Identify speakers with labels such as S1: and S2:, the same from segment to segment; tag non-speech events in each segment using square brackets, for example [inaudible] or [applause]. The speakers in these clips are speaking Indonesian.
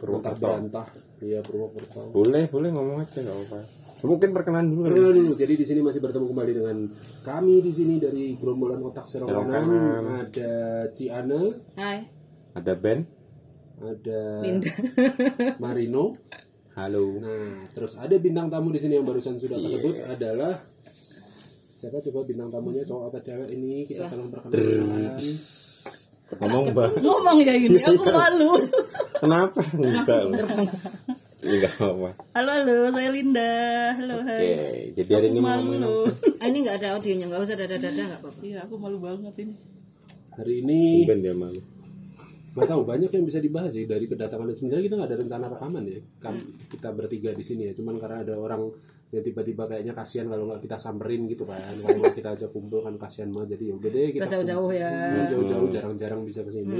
S1: Berantah berantah. Iya Purwokerto.
S2: Boleh, boleh ngomong aja nggak apa-apa. Mungkin perkenalan dulu kali.
S1: Perkenalan dulu. Jadi di sini masih bertemu kembali dengan kami di sini dari gerombolan otak
S2: Serong
S1: serokanan.
S2: Kanan.
S1: Ada Ciana,
S3: Hai,
S2: Ada Ben.
S1: ada
S3: Linda.
S1: [laughs] Marino.
S2: Halo.
S1: Nah, terus ada bintang tamu di sini yang barusan sudah aku sebut adalah siapa coba bintang tamunya cowok apa cewek ini kita tolong perkenalkan.
S2: Ngomong bang.
S3: Ngomong ya gini, aku malu.
S2: Kenapa? Enggak. Enggak apa-apa.
S3: Halo, halo, saya Linda. Halo,
S2: Oke,
S3: hai.
S2: jadi hari ini mau ngomongin apa?
S4: Ah, ini nggak ada audionya, nggak usah dada dada nggak apa-apa.
S3: Iya, aku malu banget ini.
S1: Hari ini
S2: Tumben dia malu.
S1: nggak tahu banyak yang bisa dibahas sih dari kedatangan sebenarnya kita nggak ada rencana rekaman ya Kam-
S4: Hmm.
S1: kita bertiga di sini ya cuman karena ada orang yang tiba-tiba kayaknya kasihan kalau nggak kita samperin gitu kan kalau nggak
S4: Hmm.
S1: kita ajak kumpul kan kasihan banget jadi ya udah deh kita
S4: Nggak jauh-jauh ya.
S1: kumpul jauh-jauh jarang-jarang bisa
S4: Hmm.
S1: kesini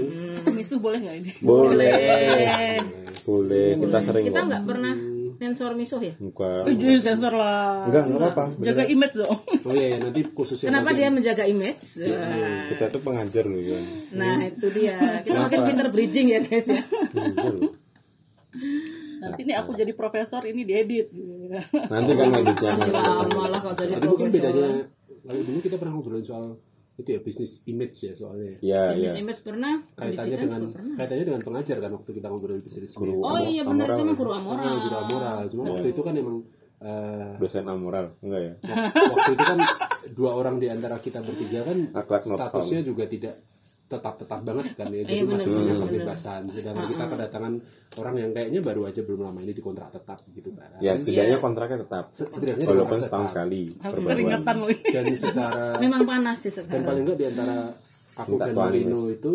S3: Misu boleh nggak ini?
S2: Boleh. Boleh, kita sering
S4: Kita
S2: kok.
S4: nggak pernah sensor misuh ya.
S2: Enggak.
S3: Tujuh sensor lah.
S2: Enggak, enggak apa-apa.
S3: Jaga image dong.
S1: oh iya ya, nanti khususnya
S4: Kenapa
S1: nanti-
S4: dia menjaga image?
S2: Hmm, Kita tuh pengajar loh ya.
S4: Nah itu dia. Kita makin pinter bridging ya guys ya.
S2: Pengajar loh.
S3: [laughs] Nanti ini aku jadi profesor, ini diedit.
S2: Nanti kan editnya
S4: Masih lama lah kalau Ah, jadi
S1: Jadi mungkin bedanya
S4: profesor.
S1: kalau dulu kita pernah ngobrolin soal itu ya bisnis image ya soalnya ya.
S2: Ya,
S4: Bisnis
S2: ya.
S4: image pernah.
S1: kaitannya
S4: Iya. pendidikan
S1: dengan
S4: juga pernah.
S1: kaitannya dengan pengajar kan waktu kita ngobrolin bisnis image.
S4: Oh iya benar itu memang guru
S1: Karena
S4: amoral.
S1: guru amoral, cuma waktu itu kan emang eh,
S2: Dosen amoral, enggak ya?
S1: wak- waktu itu kan dua orang di antara kita bertiga kan
S2: Akhlak not
S1: statusnya juga tidak tetap-tetap banget kan ya jadi
S4: Iya, benar,
S1: masih punya
S4: benar,
S1: kebebasan sedangkan
S3: Ah,
S1: kita kedatangan orang yang kayaknya baru aja belum lama ini dikontrak tetap gitu kan
S2: Ya, setidaknya kontraknya tetap.
S1: Se- setidaknya
S2: Walaupun
S1: dikontrak
S2: setahun
S1: tetap.
S2: sekali perbaruan.
S3: Keringetan loh ini.
S1: dan secara
S4: Memang panas sih
S1: dan
S4: sekarang.
S1: paling enggak di antara aku
S2: Minta
S1: dan
S2: tuan,
S1: Marino itu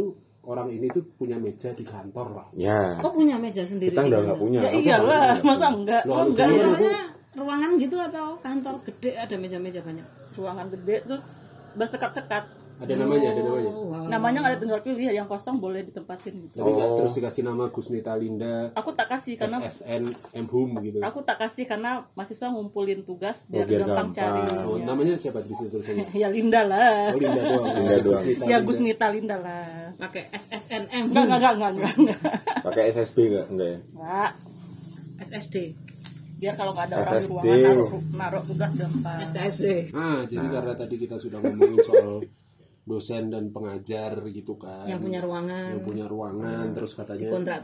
S1: orang ini tuh punya meja di kantor lah.
S2: Ya,
S4: Kok punya meja sendiri?
S2: kita udah nggak punya.
S3: Ya
S2: Aku
S3: iyalah, masa enggak?
S1: Loh,
S3: Oh, enggak
S1: dulu
S3: ya.
S1: kan aku
S4: Ruangannya ruangan gitu atau kantor gede ada meja-meja banyak.
S3: Ruangan gede, terus bersekat-sekat.
S1: ada namanya, ada namanya.
S3: Oh. Namanya nggak ada tinggal pilih, yang kosong boleh ditempatin gitu.
S1: Tapi
S2: Oh.
S1: enggak terus dikasih nama Gusnita Linda
S3: Aku tak kasih karena
S1: SSN M Hum gitu.
S3: aku tak kasih karena mahasiswa ngumpulin tugas biar,
S2: biar
S3: gampang,
S2: gampang.
S3: cari. Iya.
S1: Oh, namanya siapa di situ
S3: [laughs]
S1: tulisannya?
S3: Ya Linda lah.
S1: Oh, Linda doang.
S2: Linda doang.
S1: Gusnita
S3: Ya
S1: Linda.
S3: Gusnita Linda lah.
S4: Pakai SSNM.
S3: Enggak, enggak, enggak, enggak, enggak.
S2: Pakai SSB enggak? Enggak ya?
S3: Enggak.
S4: SSD.
S3: Biar kalau nggak ada orang di
S2: SSD.
S3: ruangan naruh, naruh tugas gampang.
S4: SKSD.
S1: Ah, jadi karena tadi kita sudah ngomongin soal dosen dan pengajar gitu kan.
S4: Yang punya ruangan. Hmm.
S1: Yang punya ruangan terus katanya
S4: kontrak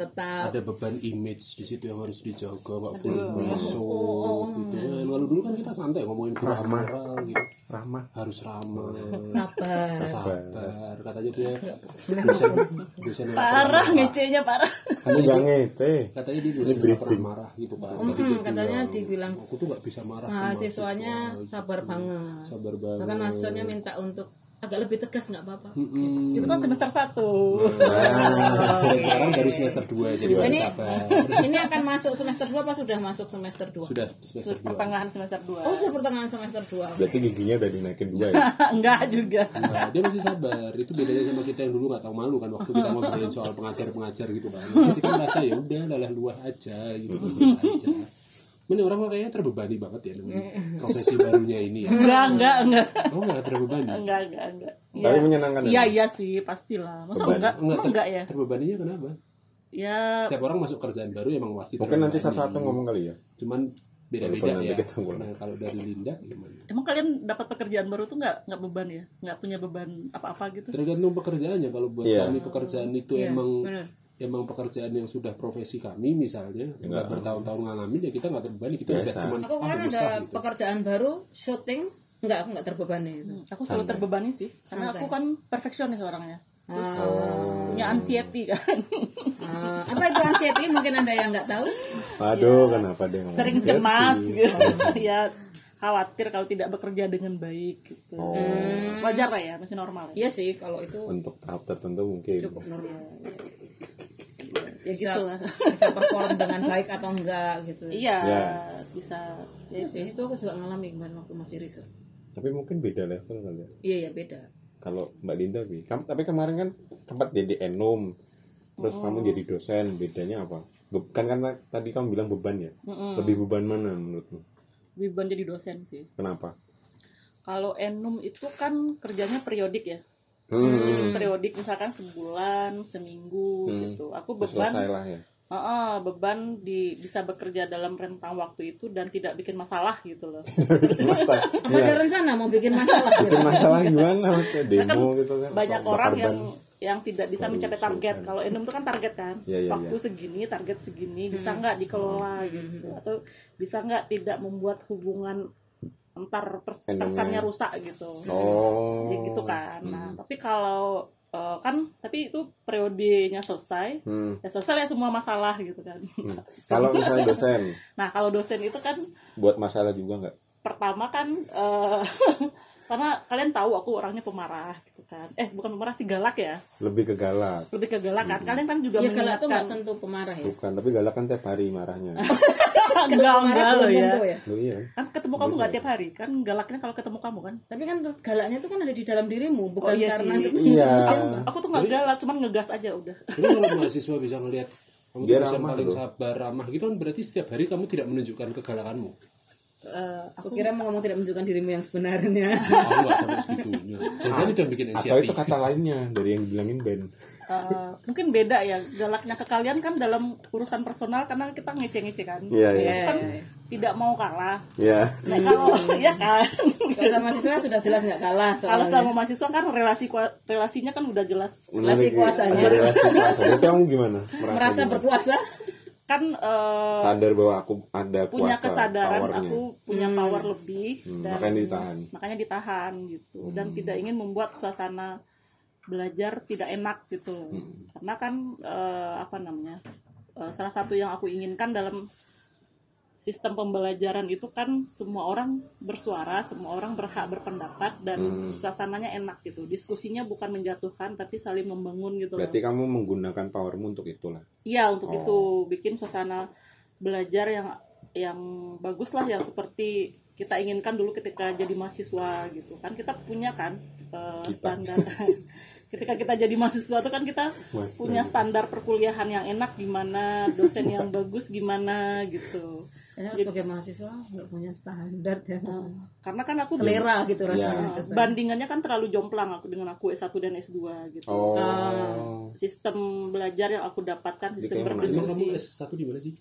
S1: Iya.
S4: tetap
S1: ada beban image di situ yang harus dijaga nggak boleh musuh
S4: Oh,
S1: gitu kan kalau dulu kan kita santai ngomongin guru amoral gitu
S2: Ramah.
S1: harus ramah
S4: sabar
S1: sabar katanya dia dosen dosen yang nggak pernah
S3: Parah
S1: marah.
S3: ngecenya parah.
S2: Kamu enggak ngete.
S1: katanya dia dosen yang nggak pernah marah gitu kan Tapi dia
S4: Mm-mm, katanya dibilang
S1: aku tuh nggak bisa marah sama
S4: mahasiswanya sabar banget
S1: sabar banget
S4: bahkan mahasiswanya minta untuk agak lebih tegas nggak apa-apa
S1: Mm-mm.
S3: Itu kan semester 1.
S1: Dan sekarang baru semester 2 jadi harus
S4: Ini-
S1: sabar
S4: ini akan masuk semester 2 apa sudah masuk semester 2
S1: sudah semester 2
S3: Pertengahan semester
S4: oh
S3: 2.
S4: sudah pertengahan semester 2
S2: Berarti giginya udah dinaikin dua
S3: Iya.
S2: ya?
S3: [laughs] enggak juga.
S1: Nah, dia masih sabar. Itu bedanya sama kita yang dulu nggak tahu malu kan waktu kita ngobrolin soal pengajar-pengajar gitu kan. Kita merasa ya udah lelah luah aja gitu kan, biasa aja. Cuman orang mah kayaknya terbebani banget ya dengan profesi barunya ini ya.
S3: Enggak, enggak, enggak.
S1: Oh nggak terbebani?
S3: Enggak, enggak, enggak. Iya.
S2: Tapi menyenangkan ya?
S3: Iya, iya sih, pastilah. Masa enggak? Emang
S1: ter-
S3: enggak ya?
S1: Terbebaninya kenapa?
S3: Ya,
S1: Setiap orang masuk kerjaan baru emang pasti
S2: Mungkin nanti
S1: terbebani.
S2: satu-satu ngomong kali
S3: Iya.
S2: ya?
S1: Cuman
S2: Walaupun
S1: beda-beda
S2: nanti
S1: ya.
S2: kita ngulang.
S1: Nah, kalau dari Linda gimana?
S3: Emang kalian dapat pekerjaan baru tuh nggak nggak beban ya? Nggak punya beban apa-apa gitu?
S1: Tergantung pekerjaannya. Kalau buat
S2: Iya.
S1: kami pekerjaan itu
S4: Iya,
S1: emang
S4: benar.
S1: emang pekerjaan yang sudah profesi kami misalnya
S2: Ya
S1: nggak bertahun-tahun ngalamin ya kita nggak terbebani kita udah cuman
S4: aku
S1: ah,
S4: kemarin
S1: bagus
S4: ada
S1: lah, gitu.
S4: pekerjaan baru syuting nggak aku nggak terbebani itu
S3: Aku selalu terbebani sih, karena aku kan perfeksionis orangnya. Terus punya anxiety kan.
S4: Ah, apa itu anxiety mungkin anda yang nggak tahu
S2: Aduh, kenapa dia ngomong?
S3: Sering cemas gitu. [laughs] ya khawatir kalau tidak bekerja dengan baik gitu.
S2: Oh.
S3: Wajar lah ya, masih normal.
S4: iya
S3: Ya,
S4: sih kalau itu
S2: Untuk tahap tertentu mungkin.
S4: cukup normal
S3: ya
S4: bisa,
S3: gitu lah.
S4: bisa perform dengan baik atau enggak gitu
S3: Iya,
S2: Ya.
S3: bisa.
S4: Iya
S3: Ya,
S4: sih, itu aku juga ngalami kemarin waktu masih riset.
S2: Tapi mungkin beda level kali ya.
S4: Iya, iya beda.
S2: Kalau Mbak Linda, Bi. Kam- tapi kemarin kan tempat jadi enum. Terus
S3: Oh.
S2: kamu jadi dosen, bedanya apa? Be- Kan karena tadi kamu bilang beban ya? Lebih beban mana menurutmu?
S3: Beban jadi dosen sih.
S2: Kenapa?
S3: Kalau enum itu kan kerjanya periodik ya.
S2: Hmm, Hmm.
S3: Periodik misalkan sebulan, seminggu gitu. Aku beban
S2: selesai lah ya.
S3: Heeh, beban di bisa bekerja dalam rentang waktu itu dan tidak bikin masalah gitu loh.
S2: masa
S4: Apa
S1: Iya.
S2: ya,
S4: ada rencana mau bikin masalah gitu?
S2: bikin masalah gimana maksudnya demo gitu kan
S3: Banyak
S2: atau
S3: orang
S2: bakar
S3: yang
S2: ban.
S3: yang tidak bisa mencapai target. Kalau Enum itu kan target kan,
S2: Iya, iya,
S3: waktu segini, target segini, bisa nggak dikelola gitu, atau bisa nggak tidak membuat hubungan antar pers-
S2: Enumnya.
S3: persannya rusak gitu.
S2: oh Hmm.
S3: Ya gitu kan. Nah, tapi kalau eh, kan tapi itu periodenya selesai,
S2: Hmm.
S3: ya selesai ya semua masalah gitu kan.
S2: kalau misalnya dosen
S3: [laughs] Nah, kalau dosen itu kan
S2: buat masalah juga nggak
S3: pertama kan eh, [laughs] karena kalian tahu aku orangnya pemarah gitu kan. Eh, bukan pemarah sih galak ya.
S2: lebih ke galak
S3: Lebih ke galak kan. Kalian kan juga
S4: Ya galak tuh nggak
S3: mengingatkan
S4: tentu pemarah
S3: [laughs]
S4: ya.
S2: bukan tapi galak kan tiap hari marahnya
S3: enggak enggak
S4: Pemarah
S3: loh
S4: belum
S3: ya.
S4: tentu ya.
S2: Loh, iya
S3: Kan ketemu kamu nggak tiap hari kan galaknya kalau ketemu kamu kan.
S4: Tapi kan galaknya tuh kan ada di dalam dirimu, bukan
S3: Oh, iya
S4: karena
S3: sih.
S4: [laughs] ketemu
S2: iya
S4: sama
S3: Aku tuh nggak galak, cuman ngegas aja udah.
S1: Tapi kalau mahasiswa bisa ngelihat kamu
S2: Dia
S1: tuh dosen
S2: ramah
S1: paling
S2: loh.
S1: sabar ramah gitu kan berarti setiap hari kamu tidak menunjukkan kegalakanmu.
S3: Eh,
S4: Aku kira mau ngomong tidak menunjukkan dirimu yang sebenarnya.
S3: [laughs]
S1: Aku nggak sampai segitunya. Jangan udah bikin
S2: Ah. atau
S1: anxiety.
S2: itu kata lainnya dari yang bilangin Ben
S3: eh,
S4: Ah.
S3: [laughs] mungkin beda ya galaknya ke kalian kan dalam urusan personal karena kita ngece-ngece kan.
S2: Iya, iya.
S3: Kan tidak mau kalah.
S2: ya
S3: Nah, kalau ya kan.
S4: Kalau sama siswa sudah jelas nggak kalah soalnya.
S3: Kalau sama mahasiswa kan relasi kua- relasinya kan udah jelas.
S2: menarik
S4: Relasi kuasanya.
S2: ada relasi kuasa berarti kamu gimana merasa,
S4: Merasa
S2: gimana?
S3: [laughs]
S4: berpuasa?
S3: Kan eh,
S2: sadar bahwa aku ada
S3: punya
S2: kuasa
S3: kesadaran
S2: powernya.
S3: aku punya power lebih
S2: Hmm, makanya ditahan. Hmm.
S3: makanya ditahan gitu dan tidak ingin membuat suasana belajar tidak enak gitu.
S2: Hmm.
S3: Karena kan eh, apa namanya? eh, salah satu yang aku inginkan dalam sistem pembelajaran itu kan semua orang bersuara, semua orang berhak berpendapat dan
S2: Hmm.
S3: suasananya enak gitu. Diskusinya bukan menjatuhkan tapi saling membangun gitu loh.
S2: berarti kamu menggunakan powermu untuk itulah
S3: Iya untuk
S2: Oh.
S3: itu bikin suasana belajar yang yang bagus lah yang seperti kita inginkan dulu ketika jadi mahasiswa gitu kan kita punya kan eh,
S2: Kita.
S3: standar [laughs] ketika kita jadi mahasiswa tuh kan kita
S2: Mas,
S3: punya standar perkuliahan yang enak gimana dosen
S2: [laughs]
S3: yang bagus gimana gitu
S4: Ya, sebagai mahasiswa nggak punya standar ya.
S3: karena kan aku
S4: Selera gitu
S2: rasanya.
S4: rasanya.
S3: eh, bandingannya kan terlalu jomplang aku dengan aku S1 dan S2 gitu
S2: oh
S3: Ah. sistem belajar yang aku dapatkan
S2: Jadi
S3: sistem
S2: kayak mana?
S1: Emang
S4: Iya
S1: kamu
S3: berdiskusi
S1: S1 di mana sih?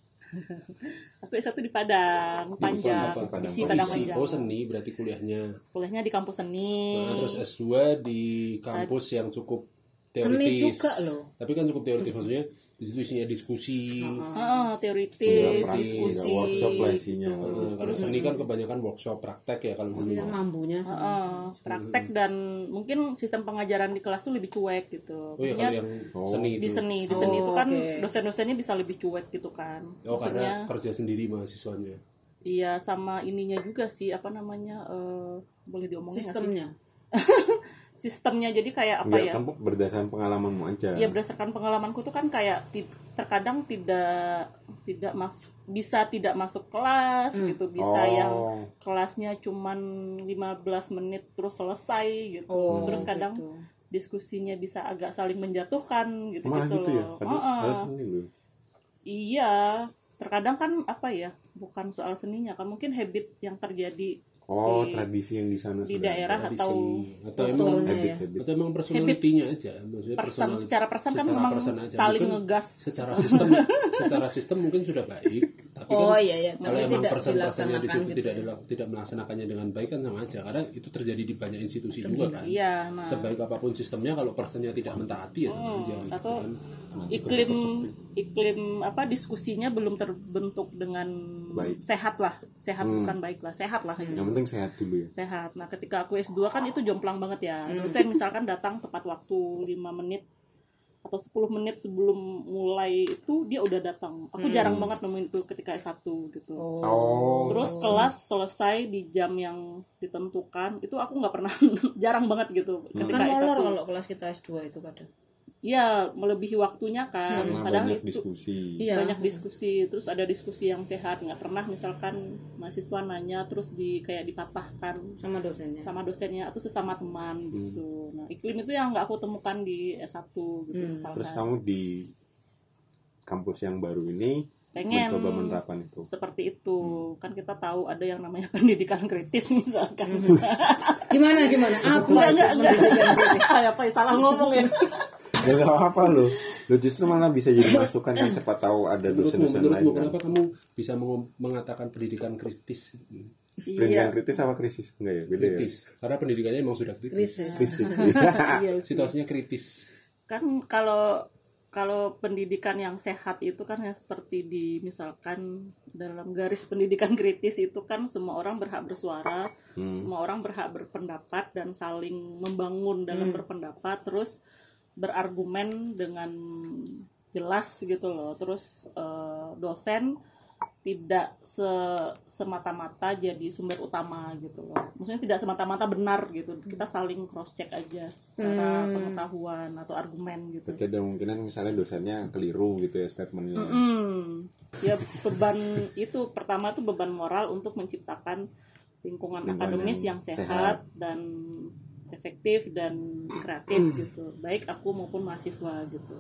S3: Aku S1 di Padang, Panjang,
S2: Padang, Padang.
S3: isi
S2: Oh,
S3: Padang
S1: Isi
S3: Panjang.
S1: oh seni berarti kuliahnya.
S3: Kuliahnya di kampus seni.
S1: Nah, terus S2 di kampus yang cukup teoritis.
S4: juga loh.
S1: Tapi kan cukup teoritis maksudnya di situ isinya diskusi.
S3: Heeh,
S1: Iya,
S2: Nggak
S3: teoritis,
S2: praktis, nggak
S3: Iya,
S1: ya,
S3: diskusi.
S2: workshop lah isinya
S1: Nah, kalau seni kan kebanyakan workshop praktek ya kalau dulu.
S4: Yang mambunya sama.
S3: Heeh, praktek dan mungkin sistem pengajaran di kelas tuh lebih cuek gitu.
S1: Oh iya
S3: Maksudnya
S1: kalau yang seni
S3: di
S1: itu.
S3: seni, di seni
S4: Oh,
S3: itu kan
S4: oke.
S3: dosen-dosennya bisa lebih cuek gitu kan.
S1: Oh
S3: Maksudnya
S1: karena kerja sendiri mahasiswanya.
S3: iya sama ininya juga sih apa namanya eh, boleh diomongin nggak sih?
S4: Sistemnya.
S3: Sistemnya jadi kayak apa
S2: Enggak,
S3: ya?
S2: kamu berdasarkan pengalamanmu aja
S3: ya berdasarkan pengalamanku tuh kan kayak ti- terkadang tidak tidak mas bisa tidak masuk kelas
S4: Hmm.
S3: gitu bisa
S2: Oh.
S3: yang kelasnya cuman 15 menit terus selesai gitu
S4: Oh,
S3: terus kadang
S4: gitu.
S3: diskusinya bisa agak saling menjatuhkan gitu
S2: malah
S3: gitu,
S2: gitu ya
S3: loh
S2: Padahal
S3: Heeh.
S2: harus ini loh
S3: iya terkadang kan apa ya bukan soal seninya kan mungkin habit yang terjadi
S2: oh
S3: di,
S2: tradisi yang di sana
S3: di
S2: sudah
S3: daerah
S2: ada.
S3: atau
S1: atau emang
S4: Betulnya
S2: habit
S4: ya.
S2: habit
S1: atau emang personalitinya aja maksudnya
S3: person
S1: personal-
S3: secara person kan
S1: secara
S3: memang
S1: person aja.
S3: saling
S1: Mungkin
S3: ngegas
S1: secara sistem secara sistem mungkin sudah baik tapi
S4: Oh,
S1: kan
S4: iya, iya.
S1: kalau
S4: Tapi
S1: emang
S4: tidak
S1: persen-persennya di situ
S4: dilaksanakan
S1: tidak dilak- tidak melaksanakannya dengan baik kan sama aja karena itu terjadi di banyak institusi juga kan
S3: iya nah
S1: sebaik apapun sistemnya kalau persennya tidak mentaati ya sama aja gitu
S3: atau
S1: kan.
S2: Nah,
S3: iklim iklim apa diskusinya belum terbentuk dengan
S2: Baik. Hmm.
S3: sehat lah sehat bukan baik lah sehat lah gitu.
S2: yang penting sehat dulu ya
S3: sehat nah ketika aku S2 kan itu jomplang banget ya
S4: Hmm.
S3: dosen misalkan datang tepat waktu 5 menit atau 10 menit sebelum mulai itu dia udah datang aku
S4: Hmm.
S3: jarang banget nemuin itu ketika S1 gitu
S2: oh
S3: Terus kelas selesai di jam yang ditentukan itu aku nggak pernah [laughs] jarang banget gitu
S2: Nah.
S4: Kan
S3: ketika
S4: molor
S3: S1
S4: kalau kelas kita S2 itu kadang.
S3: Iya, melebihi waktunya kan.
S2: karena
S3: Padahal
S2: banyak
S3: itu
S2: diskusi
S4: Iya.
S3: banyak diskusi, terus ada diskusi yang sehat. Nggak pernah misalkan mahasiswa nanya terus di kayak dipatahkan
S4: Sama dosennya.
S3: sama dosennya atau sesama
S2: Hmm.
S3: teman gitu. Nah, iklim itu yang nggak aku temukan di S1 gitu misalkan.
S2: terus kamu di kampus yang baru ini
S3: Pengen.
S2: mencoba menerapkan itu [laughs]
S3: Seperti itu.
S2: Hmm.
S3: Kan kita tahu ada yang namanya [laughs] pendidikan kritis misalkan.
S4: Gimana gimana? Apa?
S3: Enggak, enggak, enggak. Saya apa ya salah ngomong ya.
S2: Gak tahu apa lo. Lo justru malah bisa jadi masukan kan siapa tahu ada
S1: menurutmu,
S2: dosen-dosen lain
S1: menurutmu
S2: kan.
S1: kenapa kamu bisa mengom- mengatakan pendidikan kritis
S2: Pendidikan
S3: Iya.
S2: kritis apa krisis? Enggak ya, beda ya.
S1: kritis karena pendidikannya emang sudah kritis
S4: krisis
S2: Krisis.
S3: [laughs]
S2: iya.
S3: Iya sih.
S1: situasinya kritis
S3: kan kalau kalau pendidikan yang sehat itu kan yang seperti di misalkan dalam garis pendidikan kritis itu kan semua orang berhak bersuara, semua orang berhak berpendapat dan saling membangun dalam berpendapat terus berargumen dengan jelas gitu loh. Terus eh, dosen tidak se- semata-mata jadi sumber utama gitu loh. Maksudnya tidak semata-mata benar gitu. Kita saling cross check aja cara pengetahuan atau argumen gitu.
S2: Berarti ada kemungkinan misalnya dosennya keliru gitu ya statementnya.
S3: Mm-mm. Ya beban itu pertama tuh beban moral untuk menciptakan lingkungan
S2: Lingkungan
S3: akademis
S2: yang
S3: yang
S2: sehat.
S3: sehat dan efektif dan kreatif gitu. Baik aku maupun mahasiswa gitu.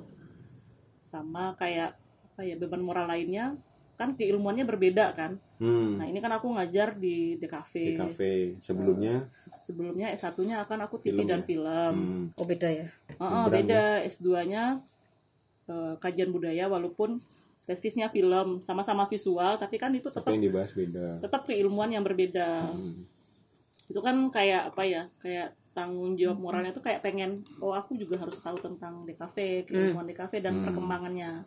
S3: Sama kayak apa ya beban moral lainnya kan keilmuannya berbeda kan.
S2: Hmm.
S3: Nah, iya. ini kan aku ngajar di DKV.
S2: Di kafe sebelumnya
S3: Sebelumnya S1-nya akan aku TV
S2: Film
S3: dan
S2: ya?
S3: film.
S2: hmm, ya?
S4: oh beda ya
S3: Heeh,
S2: Berang,
S3: beda S2-nya eh, kajian budaya walaupun tesisnya film, sama-sama visual tapi kan itu
S2: apa
S3: tetap
S2: yang dibahas beda.
S3: tetap keilmuan yang berbeda.
S2: Hmm.
S3: Itu kan kayak apa ya? Kayak tanggung jawab
S2: Hmm.
S3: moralnya tuh kayak pengen oh aku juga harus tahu tentang DKV, keilmuan DKV dan
S2: Hmm.
S3: perkembangannya.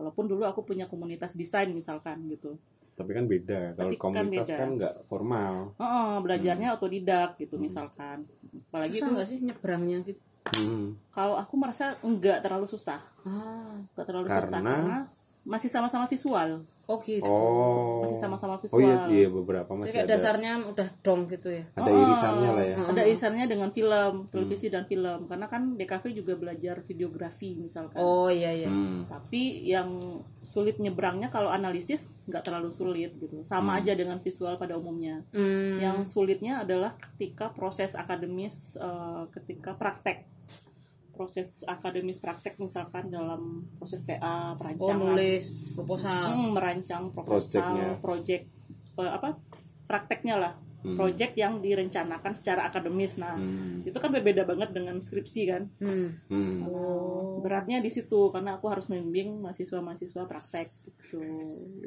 S3: Walaupun dulu aku punya komunitas desain misalkan gitu.
S2: Tapi kan beda. Kalau
S3: Tapi kan
S2: komunitas
S3: beda.
S2: kan nggak formal.
S3: Heeh, belajarnya
S2: Hmm.
S3: otodidak gitu misalkan. Apalagi
S4: susah
S3: itu
S4: nggak sih nyebrangnya gitu
S2: Hmm.
S3: kalau aku merasa enggak terlalu susah
S4: ah
S3: enggak terlalu susah
S2: Karena?
S3: karena s- masih sama-sama visual
S4: oh gitu
S2: Oh.
S3: masih
S2: Oh
S3: sama-sama
S2: iya,
S3: visual
S2: iya beberapa
S4: Jadi
S2: masih
S4: kayak
S2: ada
S4: dasarnya udah dong gitu ya
S2: ada
S3: Oh,
S2: irisannya lah ya.
S3: ada irisannya dengan film televisi dan film karena kan DKV juga belajar videografi misalkan
S4: oh iya iya
S2: Hmm.
S3: tapi yang sulit nyebrangnya kalau analisis nggak terlalu sulit gitu sama aja dengan visual pada umumnya
S4: Hmm.
S3: yang sulitnya adalah ketika proses akademis eh, ketika praktek proses akademis praktek misalkan dalam proses TA
S4: oh
S3: perancangan
S4: nulis proposal
S3: Hmm, merancang
S2: Projectnya.
S3: proposal, project eh, apa prakteknya lah,
S2: Hmm.
S3: project yang direncanakan secara akademis. Nah,
S2: Hmm.
S3: itu kan berbeda banget dengan skripsi kan.
S4: hmm.
S2: Hmm.
S3: Nah, Beratnya di situ karena aku harus membimbing mahasiswa-mahasiswa praktek gitu.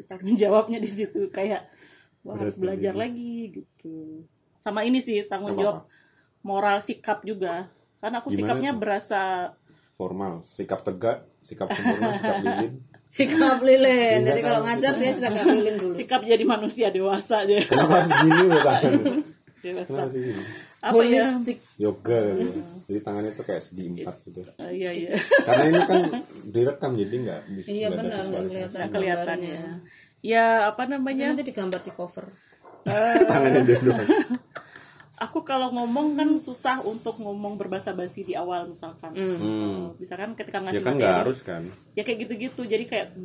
S3: Tanggung jawabnya di situ kayak wah
S2: Berat
S3: harus belajar
S2: membimbing.
S3: lagi gitu. Sama ini sih tanggung
S2: Sama
S3: jawab moral sikap juga. Karena aku
S2: Gimana
S3: sikapnya
S2: tuh?
S3: berasa
S2: Formal, sikap tegak, sikap sempurna, sikap lilin.
S4: sikap lilin jadi
S2: Tindakan
S4: kalau ngajar dia sikap lilin [laughs] dulu
S3: sikap jadi manusia dewasa aja.
S2: Kenapa harus gini lo tangan? Kenapa
S3: Dewasa.
S2: harus gini?
S3: Apa ya?
S4: holistik
S2: Yoga kali ya. Jadi tangannya tuh kayak di empat gitu.
S3: Eh, Iya iya.
S2: Karena ini kan direkam jadi nggak bisa
S4: iya
S2: nggak ada
S4: benar nggak
S2: visualisasi.
S4: kelihatan
S3: kelihatannya.
S4: gambarnya.
S3: Ya apa
S4: Ini
S3: namanya?
S4: nanti digambar di cover
S2: Tangannya dia doang.
S3: Aku kalau ngomong kan susah untuk ngomong berbahasa basi di awal misalkan.
S2: Hmm.
S3: Eh, Misalkan ketika
S2: Ya
S3: ngasih
S2: kan nggak
S3: materi.
S2: harus kan?
S3: Ya kayak gitu-gitu. Jadi kayak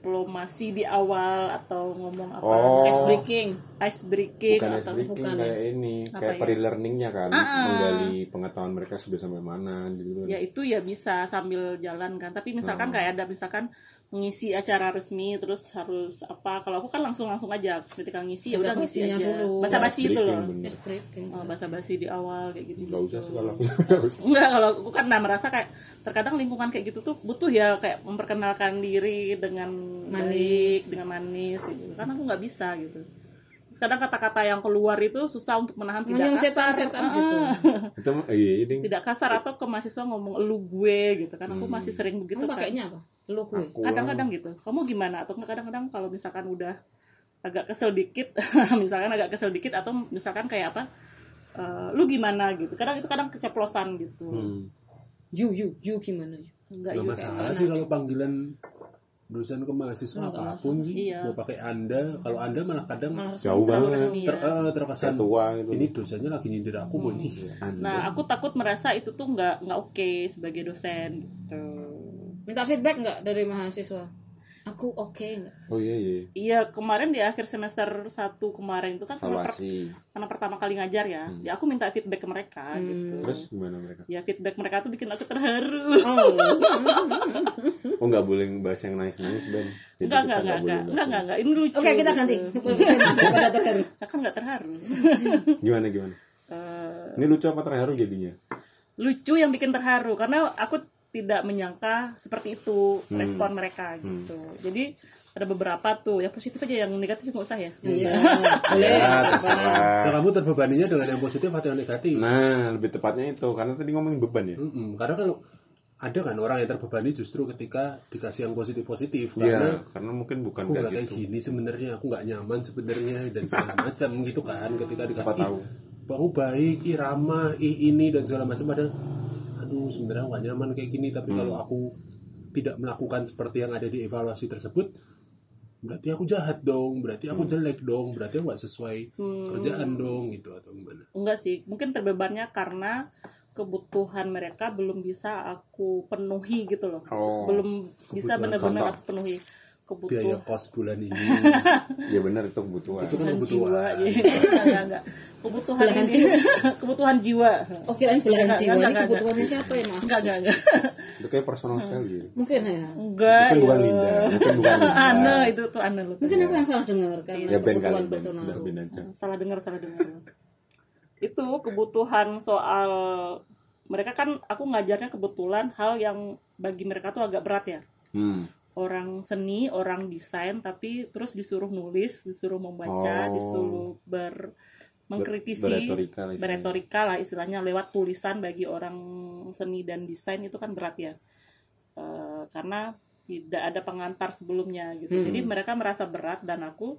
S3: berdiplomasi di awal atau ngomong apa?
S2: Oh.
S4: ice breaking
S3: Ice breaking
S2: Bukan
S3: atau
S2: breaking
S4: bukan ya?
S2: kayak ini, kayak
S3: ya?
S2: pre-learningnya kan, menggali pengetahuan mereka sudah sampai mana gitu.
S3: ya itu ya bisa sambil jalan kan. Tapi
S2: Hmm.
S3: misalkan kayak ada misalkan mengisi acara resmi terus harus apa? Kalau aku kan langsung-langsung aja ketika ngisi ya
S4: Bahasa
S3: udah ngisi
S4: basinya
S3: aja.
S4: dulu.
S3: Bahasa
S2: Ice
S3: basi itu
S2: breaking,
S3: loh.
S2: bener.
S4: ice breaking
S3: Eh, Bahasa basi di awal kayak gitu.
S2: Nggak usah sih kalau [laughs] nggak usah.
S3: Enggak, kalau aku kan nah, merasa kayak terkadang lingkungan kayak gitu tuh butuh ya kayak memperkenalkan diri dengan
S4: Manis.
S3: manis, dengan manis gitu. Karena aku nggak bisa gitu. Terus kadang kata-kata yang keluar itu susah untuk menahan tidak
S4: Menyung
S3: kasar.
S4: setan-setan
S3: Ah,
S4: gitu.
S2: Itu iya ini
S3: Tidak kasar atau ke mahasiswa ngomong elu gue gitu kan aku masih sering begitu
S4: kamu
S3: kan.
S4: pakainya apa lu kue
S2: aku
S3: Kadang-kadang gitu. Kamu gimana? Atau kadang-kadang kalau misalkan udah agak kesel dikit, [laughs] misalkan agak kesel dikit atau misalkan kayak apa? eh, lu gimana gitu. Kadang itu kadang keceplosan gitu.
S2: Hmm.
S4: you you you gimana you
S3: Enggak
S1: nggak
S3: juga.
S1: masalah sih kalau panggilan dosen ke mahasiswa apapun sih
S3: Iya.
S1: mau pakai anda kalau anda malah kadang
S2: Jauh banget.
S3: resmi.
S1: ter- eh, terkesan
S2: Kayak tua gitu.
S1: ini dosennya lagi nyindir aku mau nih
S2: Iya.
S3: Nah, aku takut merasa itu tuh nggak nggak oke sebagai dosen gitu.
S4: minta feedback nggak dari mahasiswa aku oke nggak
S2: Oh iya iya.
S3: Iya, kemarin di akhir semester 1 kemarin itu kan karena, per-
S2: Evaluasi. Hmm.
S3: karena pertama kali ngajar ya. Ya aku minta feedback ke mereka
S4: Hmm.
S3: gitu.
S2: Terus gimana mereka?
S3: Ya feedback mereka tuh bikin aku terharu. [laughs]
S2: Oh nggak boleh bahas yang nangis-nangis Ben. Jadi kita
S3: Enggak, enggak, enggak,
S2: nggak boleh
S3: enggak, enggak, enggak, enggak. Ini lucu.
S4: oke [laughs] kita ganti pada
S3: [laughs]
S4: terharu
S3: Nah, kan enggak terharu.
S2: bahas. Gimana gimana?
S3: Eh,
S2: Ini lucu apa terharu jadinya?
S3: lucu yang bikin terharu karena aku tidak menyangka seperti itu
S2: Hmm.
S3: respon mereka gitu. Jadi ada beberapa tuh yang positif aja yang negatif nggak usah ya.
S4: Iya.
S2: Ya,
S4: Boleh.
S2: terserah.
S1: Nah, kamu terbebaninya dengan yang positif atau yang negatif?
S2: Nah, lebih tepatnya itu karena tadi ngomongin beban ya.
S1: Mm-mm, Karena kalau ada kan orang yang terbebani justru ketika dikasih yang positif-positif
S2: Iya,
S1: karena
S2: karena mungkin bukan
S1: aku nggak
S2: kayak
S1: kayak
S2: gitu.
S1: gini sebenarnya aku nggak nyaman sebenarnya dan segala macam gitu kan ketika dikasih
S2: Siapa tahu.
S1: "Ih, kamu baik ih ramah ih ini dan segala macam padahal aduh sebenarnya aku nggak nyaman kayak gini tapi
S2: Hmm.
S1: kalau aku tidak melakukan seperti yang ada di evaluasi tersebut berarti aku jahat dong berarti
S2: Hmm.
S1: aku jelek dong berarti aku nggak sesuai
S3: Hmm.
S1: kerjaan dong gitu atau gimana
S3: Enggak sih, mungkin terbebannya karena kebutuhan mereka belum bisa aku penuhi gitu loh.
S2: Oh.
S3: Belum bisa
S1: Kebutuhan
S3: benar-benar
S2: contoh.
S3: aku penuhi
S1: biaya
S3: kebutuhan
S1: kos bulan
S3: [laughs]
S1: ini
S2: Ya benar itu kebutuhan.
S1: itu kan
S3: jiwa.
S1: kebutuhan
S3: Iya, [laughs] enggak, enggak, enggak. Kebutuhan
S4: Belahan
S3: ini,
S4: jiwa.
S3: [laughs] kebutuhan jiwa.
S4: Oh kirain belahan
S3: Enggak,
S4: jiwa
S3: enggak,
S4: ini
S3: enggak,
S4: kebutuhannya siapa ya maaf?
S3: Enggak, enggak,
S2: [laughs]
S3: enggak.
S2: Itu kayak personal sekali.
S4: Mungkin ya.
S3: Enggak.
S2: Bukan bukan
S3: ya.
S2: Linda, bukan bukan
S3: [laughs]
S2: Linda.
S3: Ane itu tuh Ane loh.
S4: Mungkin aku yang salah dengar karena
S2: Ya Ben kali
S4: kebutuhan
S2: Ben,
S4: personal.
S2: udah Ben aja.
S3: salah dengar salah dengar itu kebutuhan soal mereka kan aku ngajarnya kebetulan hal yang bagi mereka tuh agak berat ya
S2: Hmm.
S3: orang seni orang desain tapi terus disuruh nulis disuruh
S2: Oh.
S3: membaca disuruh ber mengkritisi
S2: berretorika lah istilahnya.
S3: berretorika lah istilahnya lewat tulisan bagi orang seni dan desain itu kan berat ya Eh, karena tidak ada pengantar sebelumnya gitu jadi
S2: Hmm.
S3: mereka merasa berat dan aku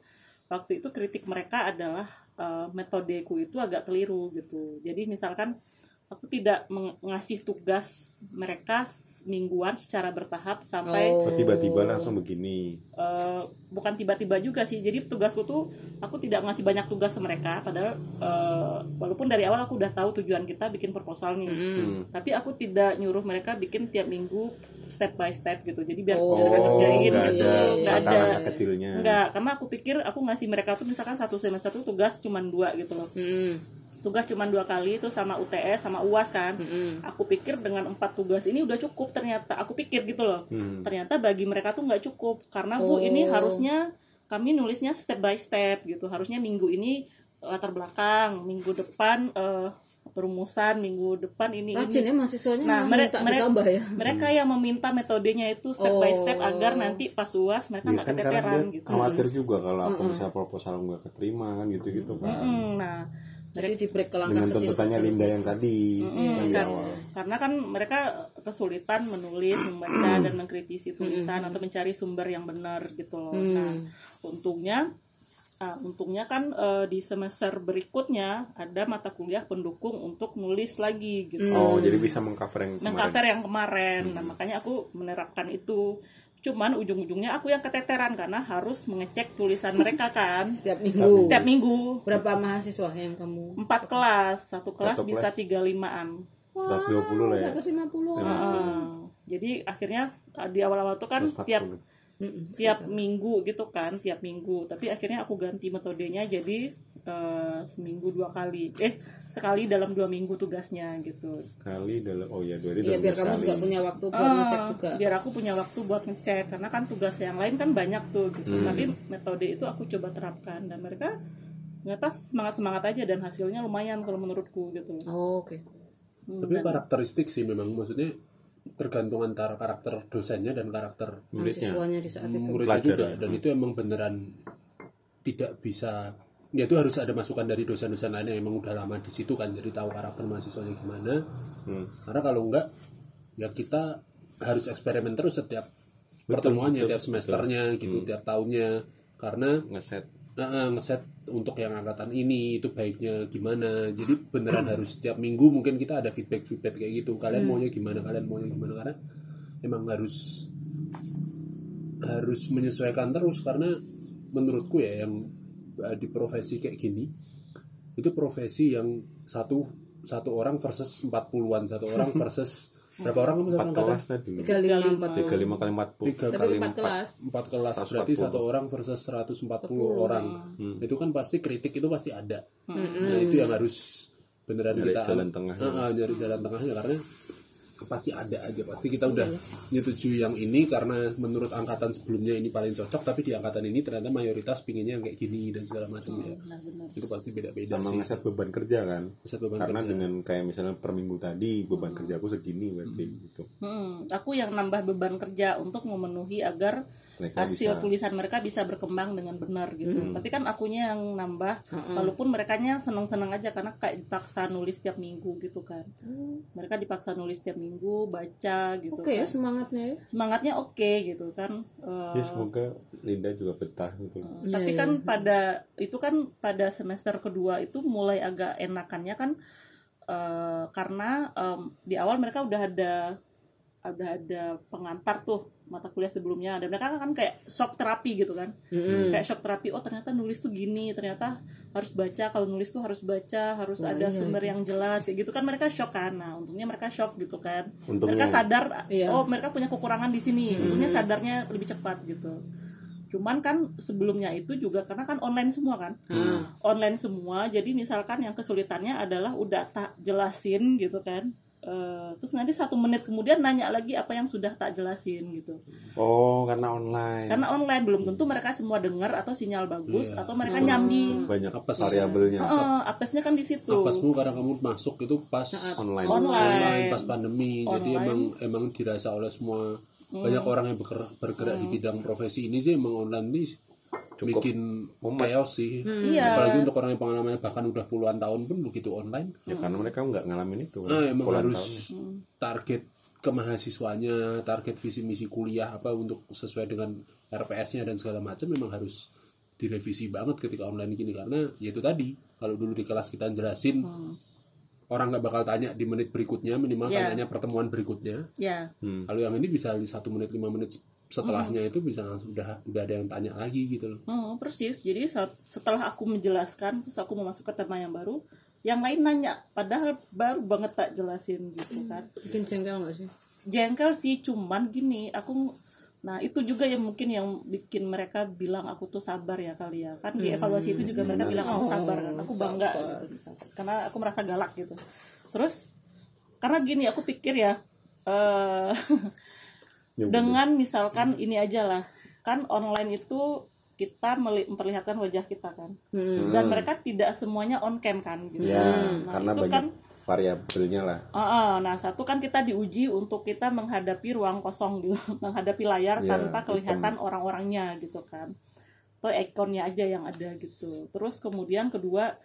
S3: waktu itu kritik mereka adalah eh, metodeku itu agak keliru gitu jadi misalkan aku tidak meng- ngasih tugas mereka mingguan secara bertahap sampai
S4: Oh.
S2: Oh, tiba-tiba langsung begini.
S3: eh, bukan tiba-tiba juga sih jadi tugasku tuh aku tidak ngasih banyak tugas ke mereka padahal eh, walaupun dari awal aku udah tahu tujuan kita bikin proposal nih
S2: Hmm.
S3: tapi aku tidak nyuruh mereka bikin tiap minggu step by step gitu jadi biar
S4: Oh,
S3: biar mereka kerjain
S2: nggak
S3: gitu
S2: ada
S3: nggak ada
S2: tantangannya kecilnya.
S3: nggak karena aku pikir aku ngasih mereka tuh misalkan satu semester tuh tugas cuma dua gitu loh
S4: Hmm.
S3: tugas cuma dua kali terus sama UTS sama UAS kan
S4: Mm-mm.
S3: aku pikir dengan empat tugas ini udah cukup ternyata aku pikir gitu loh
S2: Hmm.
S3: ternyata bagi mereka tuh nggak cukup karena
S4: Oh.
S3: bu ini harusnya kami nulisnya step by step gitu harusnya minggu ini eh, latar belakang minggu depan eh, perumusan minggu depan ini ini."
S4: Rajin ya mahasiswanya
S3: Iya. Nah,
S4: malah
S3: mere-
S4: minta
S3: mere-
S4: ditambah ya.
S3: mereka yang meminta metodenya itu step by step
S4: Oh.
S3: agar nanti pas uas mereka
S2: Iya
S3: nggak
S2: kan karena
S3: keteteran
S2: dia
S3: gitu
S2: khawatir juga kalau aku misalnya proposal nggak keterima kan gitu-gitu kan.
S3: Mm, nah
S4: Jadi di break ke langkah
S2: Dengan
S4: kecil.
S2: tuntutannya Linda yang tadi yang di Iya,
S3: kan-
S2: awal.
S3: karena kan mereka kesulitan menulis, membaca
S2: Hmm.
S3: dan mengkritisi tulisan atau mencari sumber yang benar gitu loh.
S2: Hmm.
S3: Nah, untungnya ah, untungnya kan eh, di semester berikutnya ada mata kuliah pendukung untuk nulis lagi gitu.
S2: Oh, jadi bisa mengcover yang Oh, kemarin. Hmm.
S3: Mengcover yang kemarin. Nah, makanya aku menerapkan itu. Cuman ujung-ujungnya aku yang keteteran karena harus mengecek tulisan mereka
S2: [laughs]
S3: kan
S4: Setiap minggu.
S3: setiap minggu.
S4: Berapa mahasiswa yang kamu?
S3: Empat kelas, satu kelas
S2: Satu
S3: bisa
S2: kelas.
S3: 35-an.
S2: 120 lah ya.
S4: 150.
S3: Ah, jadi akhirnya ah, di awal-awal tuh kan
S2: 140.
S3: tiap
S4: Hmm.
S3: tiap minggu gitu kan tiap minggu tapi akhirnya aku ganti metodenya jadi eh, seminggu dua kali eh sekali dalam dua minggu tugasnya gitu
S2: kali dalam oh ya dua hari dalam
S4: Iya biar
S2: dua
S4: kamu
S2: sekali.
S4: juga punya waktu buat
S3: Ah,
S4: ngecek juga.
S3: biar aku punya waktu buat ngecek karena kan tugas yang lain kan banyak tuh gitu tapi metode itu aku coba terapkan dan mereka ternyata semangat semangat aja dan hasilnya lumayan kalau menurutku gitu
S4: Oh, oke.
S1: Tapi karakteristik sih memang maksudnya tergantung antara karakter dosennya dan karakter
S2: Muridnya.
S4: Mahasiswanya di saat itu.
S1: muridnya
S2: Pelajar
S1: juga
S2: ya.
S1: dan itu emang beneran tidak bisa ya itu harus ada masukan dari dosen-dosen lain yang emang udah lama di situ kan jadi tahu karakter mahasiswanya gimana
S2: Hmm.
S1: karena kalau enggak ya kita harus eksperimen terus setiap pertemuannya tiap semesternya gitu tiap tahunnya karena
S2: ngeset
S1: eh, eh, ngeset untuk yang angkatan ini itu baiknya gimana jadi beneran harus setiap minggu mungkin kita ada feedback feedback kayak gitu kalian maunya gimana kalian maunya gimana karena emang harus harus menyesuaikan terus karena menurutku ya yang eh, di profesi kayak gini itu profesi yang satu satu orang versus 40-an satu orang versus berapa orang kamu satu
S2: empat
S1: angkatan?
S2: kelas tadi
S4: 35 empat
S2: tiga lima kali empat puluh
S1: Tiga
S4: Tapi
S2: kali
S4: empat kelas.
S1: empat kelas berarti
S2: 140.
S1: satu orang versus 140 orang
S2: Hmm.
S1: itu kan pasti kritik itu pasti ada nah itu yang harus beneran
S2: Nyari
S1: kita
S2: jalan tengah.
S1: Ah, ah, nyari jalan tengahnya karena pasti ada aja pasti kita udah nyetujui yang ini karena menurut angkatan sebelumnya ini paling cocok tapi di angkatan ini ternyata mayoritas pinginnya yang kayak gini dan segala macam ya
S3: benar-benar
S1: itu pasti beda-beda
S2: sama
S1: sih
S2: ngeset beban kerja kan
S1: Ngeset beban
S2: karena
S1: kerja.
S2: dengan kayak misalnya per minggu tadi beban kerjaku segini berarti
S1: Hmm.
S2: gitu
S3: Mm-mm. Hmm, aku yang nambah beban kerja untuk memenuhi agar
S2: Mereka bisa.
S3: hasil
S2: Hmm.
S3: tulisan mereka bisa berkembang dengan benar gitu. Tapi kan akunya yang nambah,
S4: Hmm.
S3: walaupun merekanya seneng-seneng aja karena kayak dipaksa nulis tiap minggu gitu kan. Mereka dipaksa nulis tiap minggu, baca gitu.
S4: Hmm. Oke ya
S3: kan.
S4: semangatnya ya.
S3: Semangatnya oke gitu kan. Eh,
S2: ya semoga Linda juga betah gitu
S3: tapi
S4: Iya,
S3: kan pada itu kan pada semester kedua itu mulai agak enakannya kan eh, karena em, di awal mereka udah ada udah ada pengantar tuh mata kuliah sebelumnya dan mereka kan kayak shock terapi gitu kan kayak shock terapi oh ternyata nulis tuh gini ternyata harus baca kalau nulis tuh harus baca harus
S4: Wah,
S3: ada
S4: iya,
S3: sumber yang jelas kayak gitu kan mereka shock kan nah untungnya mereka shock gitu kan
S2: Untungnya.
S3: mereka sadar
S4: Iya.
S3: oh mereka punya kekurangan di sini untungnya sadarnya lebih cepat gitu cuman kan sebelumnya itu juga karena kan online semua kan online semua jadi misalkan yang kesulitannya adalah udah tak jelasin gitu kan Eh, terus nanti satu menit kemudian nanya lagi apa yang sudah tak jelasin gitu
S2: oh karena online
S3: karena online belum tentu mereka semua dengar atau sinyal bagus atau mereka nyambi
S2: banyak
S1: Apes.
S2: variabelnya
S3: Heeh, apesnya kan di situ
S1: apesmu karena kamu masuk itu pas
S2: online
S1: online
S3: online
S1: pas pandemi jadi
S3: Online. Hmm.
S1: emang emang dirasa oleh semua banyak orang yang bergerak, bergerak di bidang profesi ini sih emang online ini bikin chaos sih
S3: Iya.
S1: apalagi untuk orang yang pengalamannya bahkan udah puluhan tahun pun begitu online
S2: ya karena mereka nggak ngalamin itu kan?
S1: ah, emang
S2: Pulang
S1: harus target kemahasiswanya target visi misi kuliah apa untuk sesuai dengan RPS-nya dan segala macam memang harus direvisi banget ketika online gini karena ya itu tadi kalau dulu di kelas kita jelasin orang nggak bakal tanya di menit berikutnya minimal
S3: Iya.
S1: tanyanya pertemuan berikutnya
S3: ya
S1: kalau yang ini bisa di satu menit lima menit setelahnya itu bisa langsung udah udah ada yang tanya lagi gitu loh
S3: Hmm, persis. Jadi saat- setelah aku menjelaskan, terus aku mau masuk ke tema yang baru, yang lain nanya, padahal baru banget tak jelasin gitu kan.
S4: Bikin jengkel nggak sih?
S3: Jengkel sih, cuman gini, aku Nah itu juga yang mungkin yang bikin mereka bilang aku tuh sabar ya kali ya Kan di evaluasi itu juga mereka bilang aku sabar kan Aku bangga gitu misalkan. Karena aku merasa galak gitu Terus karena gini aku pikir ya eh [laughs]
S2: Ya
S3: Dengan misalkan ini aja lah Kan online itu kita meli- memperlihatkan wajah kita kan Dan mereka tidak semuanya on cam kan gitu
S2: Hmm. ya
S3: Nah,
S2: karena
S3: itu
S2: banyak
S3: kan
S2: variabelnya lah
S3: Heeh, nah satu kan kita diuji untuk kita menghadapi ruang kosong gitu, [laughs] menghadapi layar
S2: Iya,
S3: tanpa kelihatan orang-orangnya gitu kan, atau ikonnya aja yang ada gitu. Terus kemudian kedua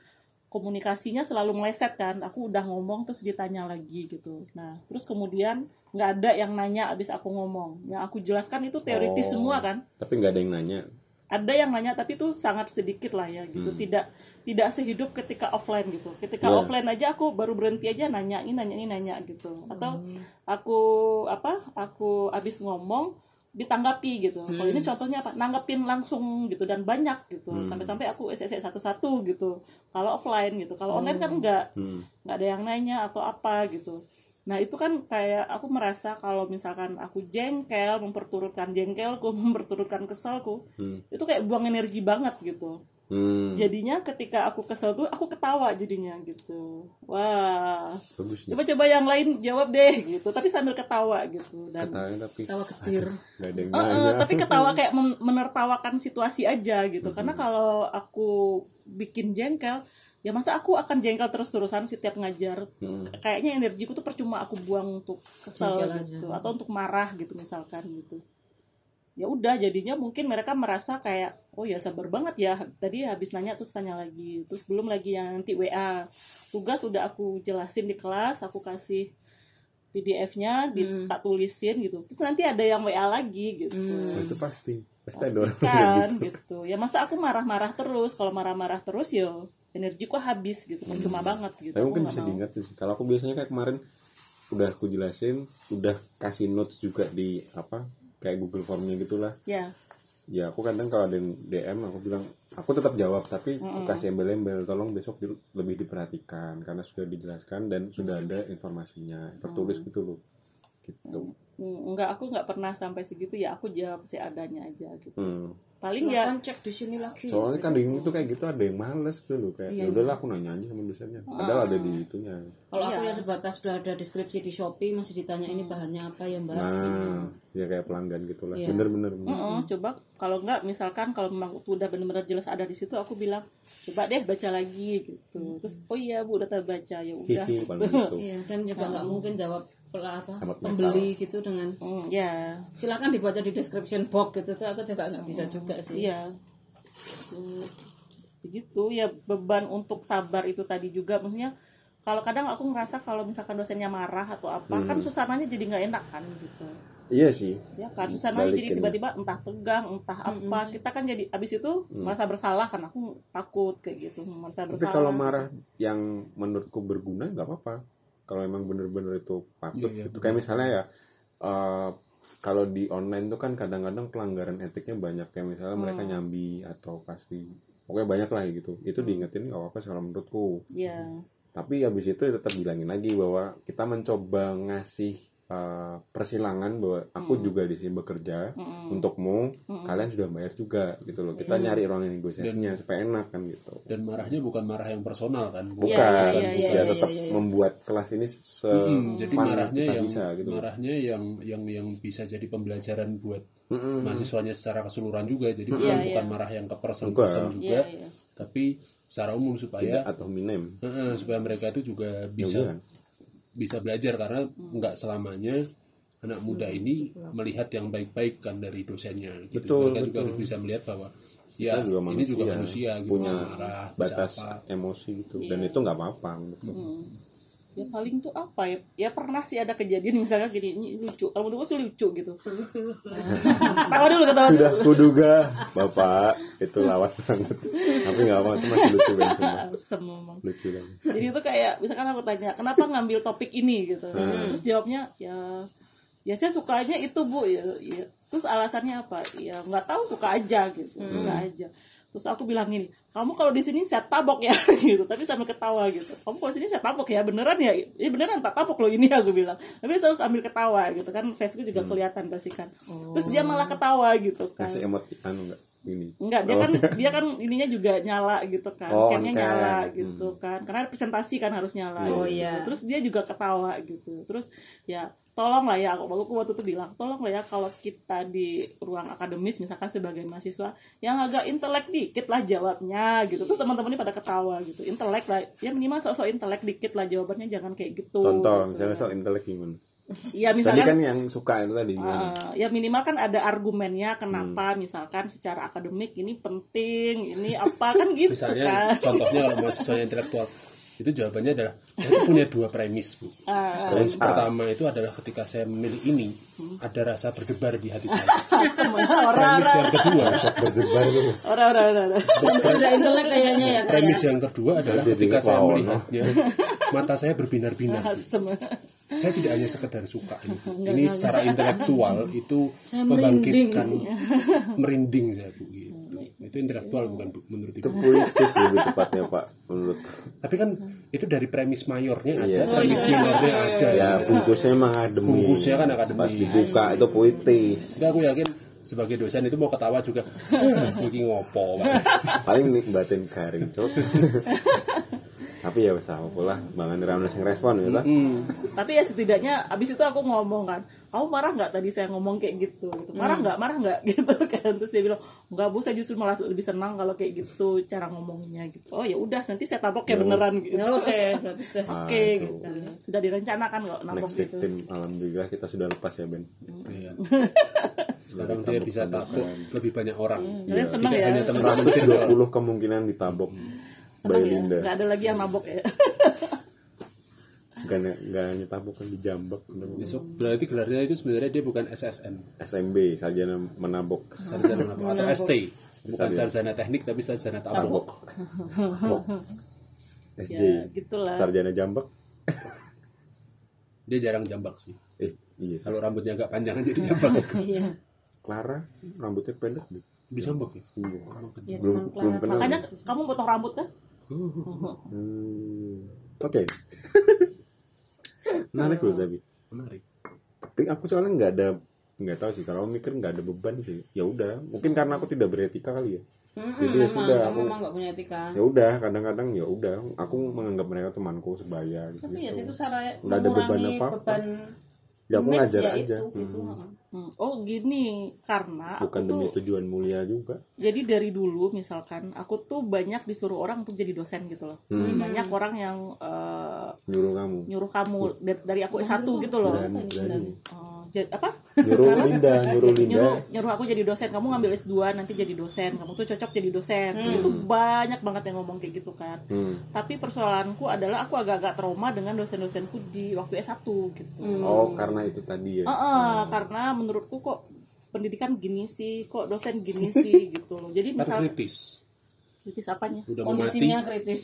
S3: komunikasinya selalu meleset kan, aku udah ngomong terus ditanya lagi gitu. Nah terus kemudian nggak ada yang nanya abis aku ngomong, yang aku jelaskan itu teoritis
S2: Oh.
S3: semua kan
S2: tapi nggak ada yang nanya
S3: ada yang nanya tapi itu sangat sedikit lah ya gitu tidak tidak sehidup ketika offline gitu ketika
S2: Hmm. Iya.
S3: offline aja aku baru berhenti aja nanya ini nanya ini nanya gitu atau aku apa aku abis ngomong ditanggapi gitu kalau ini contohnya apa nanggepin langsung gitu dan banyak gitu
S2: Hmm.
S3: sampai-sampai aku SSC satu-satu gitu kalau offline gitu kalau online kan enggak
S2: Hmm.
S3: nggak ada yang nanya atau apa gitu nah itu kan kayak aku merasa kalau misalkan aku jengkel memperturutkan jengkelku [laughs] memperturutkan keselku
S2: Hmm.
S3: itu kayak buang energi banget gitu
S2: Hmm.
S3: jadinya ketika aku kesel tuh aku ketawa jadinya gitu wah
S2: bagus nih.
S3: coba-coba yang lain jawab deh gitu tapi sambil ketawa gitu dan
S2: katanya tapi
S4: Tawa getir.
S2: nggak ada yang
S3: Eh, eh,
S2: nanya
S3: tapi ketawa kayak men- menertawakan situasi aja gitu karena kalau aku bikin jengkel ya masa aku akan jengkel terus-terusan setiap ngajar kayaknya energiku tuh percuma aku buang untuk kesel
S4: Jengkel aja.
S3: gitu atau untuk marah gitu misalkan gitu ya udah jadinya mungkin mereka merasa kayak oh ya sabar banget ya tadi habis nanya terus tanya lagi terus belum lagi yang nanti WA tugas udah aku jelasin di kelas aku kasih PDF-nya di tak tulisin gitu terus nanti ada yang WA lagi gitu
S2: Oh, itu pasti pasti ada orang kayak
S3: kan gitu ya masa aku marah-marah terus kalau marah-marah terus ya energiku habis gitu percuma banget gitu
S2: Hmm. Tapi
S3: Aku
S2: mungkin
S3: nggak
S2: bisa
S3: mau.
S2: diingat sih. Kalau aku biasanya kayak kemarin udah aku jelasin, udah kasih notes juga di apa kayak Google Formnya gitulah.
S3: ya
S2: Ya aku kadang kalau ada yang DM aku bilang aku tetap jawab tapi aku kasih embel-embel tolong besok di- lebih
S3: Mm.
S2: diperhatikan karena sudah dijelaskan dan sudah ada informasinya tertulis gitu loh. Gitu.
S3: Enggak, aku nggak pernah sampai segitu ya. Aku jawab seadanya aja gitu.
S2: Hmm.
S3: Paling ya,
S4: Silahkan cek di sini lagi.
S3: iya,
S2: Soalnya kan di itu kayak gitu ada yang males dulu kayak ya udahlah aku nanya aja sama dosennya.
S3: Ah.
S2: Padahal ada di itunya.
S4: Kalau aku ya sebatas sudah ada deskripsi di Shopee masih ditanya ini bahannya apa ya Mbak.
S2: Nah, ya kayak pelanggan gitulah. Bener-bener.
S3: "Mm-mm, coba kalau nggak misalkan kalau memang itu udah benar-benar jelas ada di situ, aku bilang coba deh baca lagi gitu. Terus oh iya bu udah terbaca ya udah.
S2: Hihi paling gitu.
S4: [laughs] Iya, dan juga nggak mungkin jawab pel- apa
S2: Amat
S4: pembeli gitu dengan
S2: iya.
S3: Hmm, ya,
S4: silahkan dibaca di description box gitu tuh aku juga nggak bisa juga sih.
S3: iya. Hmm, Begitu ya beban untuk sabar itu tadi juga. Maksudnya kalau kadang aku ngerasa kalau misalkan dosennya marah atau apa
S2: Hmm.
S3: kan suasananya jadi nggak enak kan gitu.
S2: Iya sih.
S3: ya kan suasananya jadi
S2: Balikin.
S3: tiba-tiba entah tegang entah apa kita kan jadi abis itu merasa bersalah kan aku takut kayak gitu merasa
S2: Hmm. Tapi
S3: bersalah
S2: kalau marah yang menurutku berguna nggak apa-apa. Kalau emang bener-bener itu patut
S1: Iya, iya,
S2: gitu. Kayak misalnya ya eh, kalau di online tuh kan kadang-kadang pelanggaran etiknya banyak kayak misalnya mereka nyambi atau pasti pokoknya banyak lah gitu. Itu diingetin nggak apa-apa sih kalau menurutku.
S3: ya
S2: Tapi habis itu ya tetap bilangin lagi bahwa kita mencoba ngasih eh, persilangan bahwa aku
S3: Hmm.
S2: juga di sini bekerja untukmu, kalian sudah bayar juga gitu loh.
S3: Hmm.
S2: Kita nyari ruang negosiasinya supaya enak kan gitu.
S1: dan marahnya bukan marah yang personal kan
S2: Bukan,
S3: Iya, iya, iya,
S2: bukan.
S4: iya,
S2: Ya, tetap
S4: iya, iya.
S2: membuat kelas ini se
S1: Hmm, jadi
S2: fun
S1: marahnya
S2: kita
S1: yang
S2: bisa gitu.
S1: marahnya yang yang yang bisa jadi pembelajaran buat
S2: Mm-mm.
S1: mahasiswanya secara keseluruhan juga jadi bukan,
S3: Iya,
S1: bukan marah yang ke person-person
S2: Bukan.
S1: juga
S3: Iya, iya.
S1: tapi secara umum supaya
S2: Atau minem.
S1: Heeh, supaya mereka itu juga
S2: Ya
S1: bisa Ya,
S2: bukan.
S1: bisa belajar karena
S3: Mm.
S1: nggak selamanya anak muda ini melihat yang baik-baik kan dari dosennya gitu.
S2: Betul,
S1: mereka juga
S2: betul.
S1: harus bisa melihat bahwa ya
S2: Kita juga
S1: ini juga
S2: manusia,
S1: manusia gitu
S2: punya
S1: bisa marah bisa
S2: Batas
S1: apa
S2: emosi gitu.
S3: Iya.
S2: Dan itu nggak apa-apa. menurutku.
S3: Hmm. ya paling tuh apa ya ya pernah sih ada kejadian misalnya gini ini lucu kalau menurut gue sih lucu gitu ketawa dulu ketawa dulu
S2: Sudah kuduga, Bapak. Itu lawas banget. Tapi nggak apa-apa, itu masih lucu kan banget. sumpah.
S3: Asem emang.
S2: Lucu lagi.
S3: jadi itu kayak misalkan aku tanya kenapa ngambil topik ini gitu terus jawabnya ya ya saya sukanya itu bu ya, ya. terus alasannya apa ya nggak tahu suka aja gitu suka aja terus aku bilang gini kamu kalau di sini saya tabok ya [laughs] gitu tapi sambil ketawa gitu kamu kalau di sini saya tabok ya beneran ya ini beneran tak tabok loh ini [laughs] aku bilang tapi saya ambil ketawa gitu kan faceku juga kelihatan pasti kan terus dia malah ketawa gitu kan
S2: Kasih emot anu nggak ini.
S3: Enggak, dia kan dia kan ininya juga nyala gitu kan.
S2: Oh,
S3: Camnya
S2: on-cam.
S3: nyala gitu kan. Karena presentasi kan harus nyala.
S4: Oh,
S3: gitu.
S4: iya.
S3: Terus dia juga ketawa gitu. Terus ya tolonglah ya aku aku waktu itu bilang tolonglah ya kalau kita di ruang akademis misalkan sebagai mahasiswa yang agak intelek dikit lah jawabnya gitu tuh teman-temannya pada ketawa gitu intelek lah ya minimal sok-sok intelek dikit lah jawabannya jangan kayak gitu
S2: [laughs] Contoh,
S3: gitu.
S2: misalnya soal intelek gimana?
S4: Iya.
S3: ya
S2: Tadi
S3: misalkan
S2: kan yang suka itu tadi gimana?
S3: Uh, ya minimal kan ada argumennya kenapa misalkan secara akademik ini penting ini apa kan gitu
S1: misalnya
S3: kan
S1: contohnya kalau mahasiswa yang intelektual itu jawabannya adalah saya tuh punya dua premis bu
S3: [laughs] Ah.
S1: premis pertama itu adalah ketika saya memilih ini ada rasa berdebar di hati saya
S3: semua orang
S1: premis yang kedua
S2: Berdebar lu.
S3: orang orang orang [laughs]
S4: Udah intelek kayaknya ya kayak.
S1: premis yang kedua adalah
S2: Jadi
S1: ketika saya
S2: lawan,
S1: melihatnya mata saya berbinar-binar Bu.
S3: semua
S1: saya tidak hanya sekedar suka ini ini secara intelektual itu membangkitkan merinding saya bu gitu itu intelektual bukan bu menurut
S2: Itu
S1: ibu
S2: puitis lebih tepatnya Pak menurut.
S1: tapi kan itu dari premis mayornya ada
S2: Iya.
S1: premis minornya ada
S2: Ya
S1: gitu.
S2: bungkusnya emang akademis.
S1: Bungkusnya kan akademis.
S2: Pas dibuka itu puitis.
S1: Jadi aku yakin sebagai dosen itu mau ketawa juga "Eh, Iki ngopo Pak."
S2: Paling nikmatin garing
S3: [laughs]
S2: cok. Tapi ya sama pula Bang Andra Ramnes yang respon ya lah.
S3: tapi ya setidaknya abis itu aku ngomong kan kamu marah nggak tadi saya ngomong kayak gitu gitu marah nggak marah nggak [laughs] gitu kan terus dia bilang nggak bu saya justru malah lebih senang kalau kayak gitu cara ngomongnya gitu oh ya udah nanti saya tabok ya beneran gitu
S4: Ya,
S3: oke
S4: Oke, berarti sudah.
S3: gitu sudah direncanakan kalau nabok
S2: Next
S3: gitu
S2: victim alhamdulillah kita sudah lepas ya Ben.
S1: Iya. sekarang dia bisa takut lebih banyak orang
S3: kalian senang
S1: tidak
S3: ya
S1: hanya teman-teman sendiri
S2: 120 kemungkinan ditabok.
S3: senang
S2: By
S3: ya
S2: Linda.
S3: nggak ada lagi yang mabok ya
S2: Gak, ne- gak nyetabok kan dijambak.
S3: Iya.
S1: besok berarti gelarnya itu sebenarnya dia bukan SSN
S2: SMB sarjana menabok
S1: sarjana apa? atau ST bukan sarjana teknik tapi sarjana tabok
S2: tabok Tabok. SJ
S3: ya gitulah
S2: sarjana jambak
S1: dia jarang jambak sih
S2: eh iya
S1: kalau rambutnya agak panjang jadi jambak
S4: Iya.
S2: Clara rambutnya pendek deh
S1: udah jambak ya
S2: Iya.
S4: Ya
S2: belum
S4: cuman
S2: belum
S4: Clara.
S2: kenal
S3: Makanya kamu potong rambut
S2: [laughs]
S3: kan?
S2: Hmm. oke menarik loh tapi
S1: menarik
S2: tapi aku soalnya nggak ada nggak tahu sih kalau mikir nggak ada beban sih ya udah mungkin karena aku tidak beretika kali ya
S4: Mm-mm,
S2: jadi ya
S4: memang,
S2: sudah
S4: kamu
S2: aku
S4: memang nggak punya etika.
S2: ya udah kadang-kadang ya udah aku menganggap mereka temanku sebaya gitu,
S4: Tapi ya situ cara
S2: Nggak ada beban
S4: mengurangi
S2: apa-apa.
S4: beban
S2: Ya, aku
S4: image
S2: ngajar
S4: ya
S2: aja.
S4: itu, gitu. heeh.
S3: Hmm. Oh gini, karena
S2: bukan
S3: aku
S2: demi
S3: tuh
S2: tujuan mulia juga
S3: jadi dari dulu misalkan aku tuh banyak disuruh orang untuk jadi dosen gitu loh.
S2: Hmm.
S3: Banyak orang yang eh,
S2: nyuruh kamu
S3: nyuruh kamu da- dari aku S1 gitu loh.
S2: berani berani
S3: Oh, jadi apa?
S2: nyuruh Linda nyuruh Linda
S3: nyuruh nyuruh aku jadi dosen, kamu ngambil S2 nanti jadi dosen, kamu tuh cocok jadi dosen. Itu banyak banget yang ngomong kayak gitu kan.
S2: Hmm.
S3: Tapi persoalanku adalah aku agak-agak trauma dengan dosen-dosenku di waktu S1 gitu.
S2: oh karena itu tadi ya
S4: Gitu.
S3: Heeh, karena menurutku kok pendidikan gini sih, kok dosen gini
S4: [laughs]
S3: sih gitu loh. Jadi
S1: Ntar
S3: misal
S1: Kan kritis
S3: kritis apanya?
S1: udah mau mati
S4: Kondisinya kritis.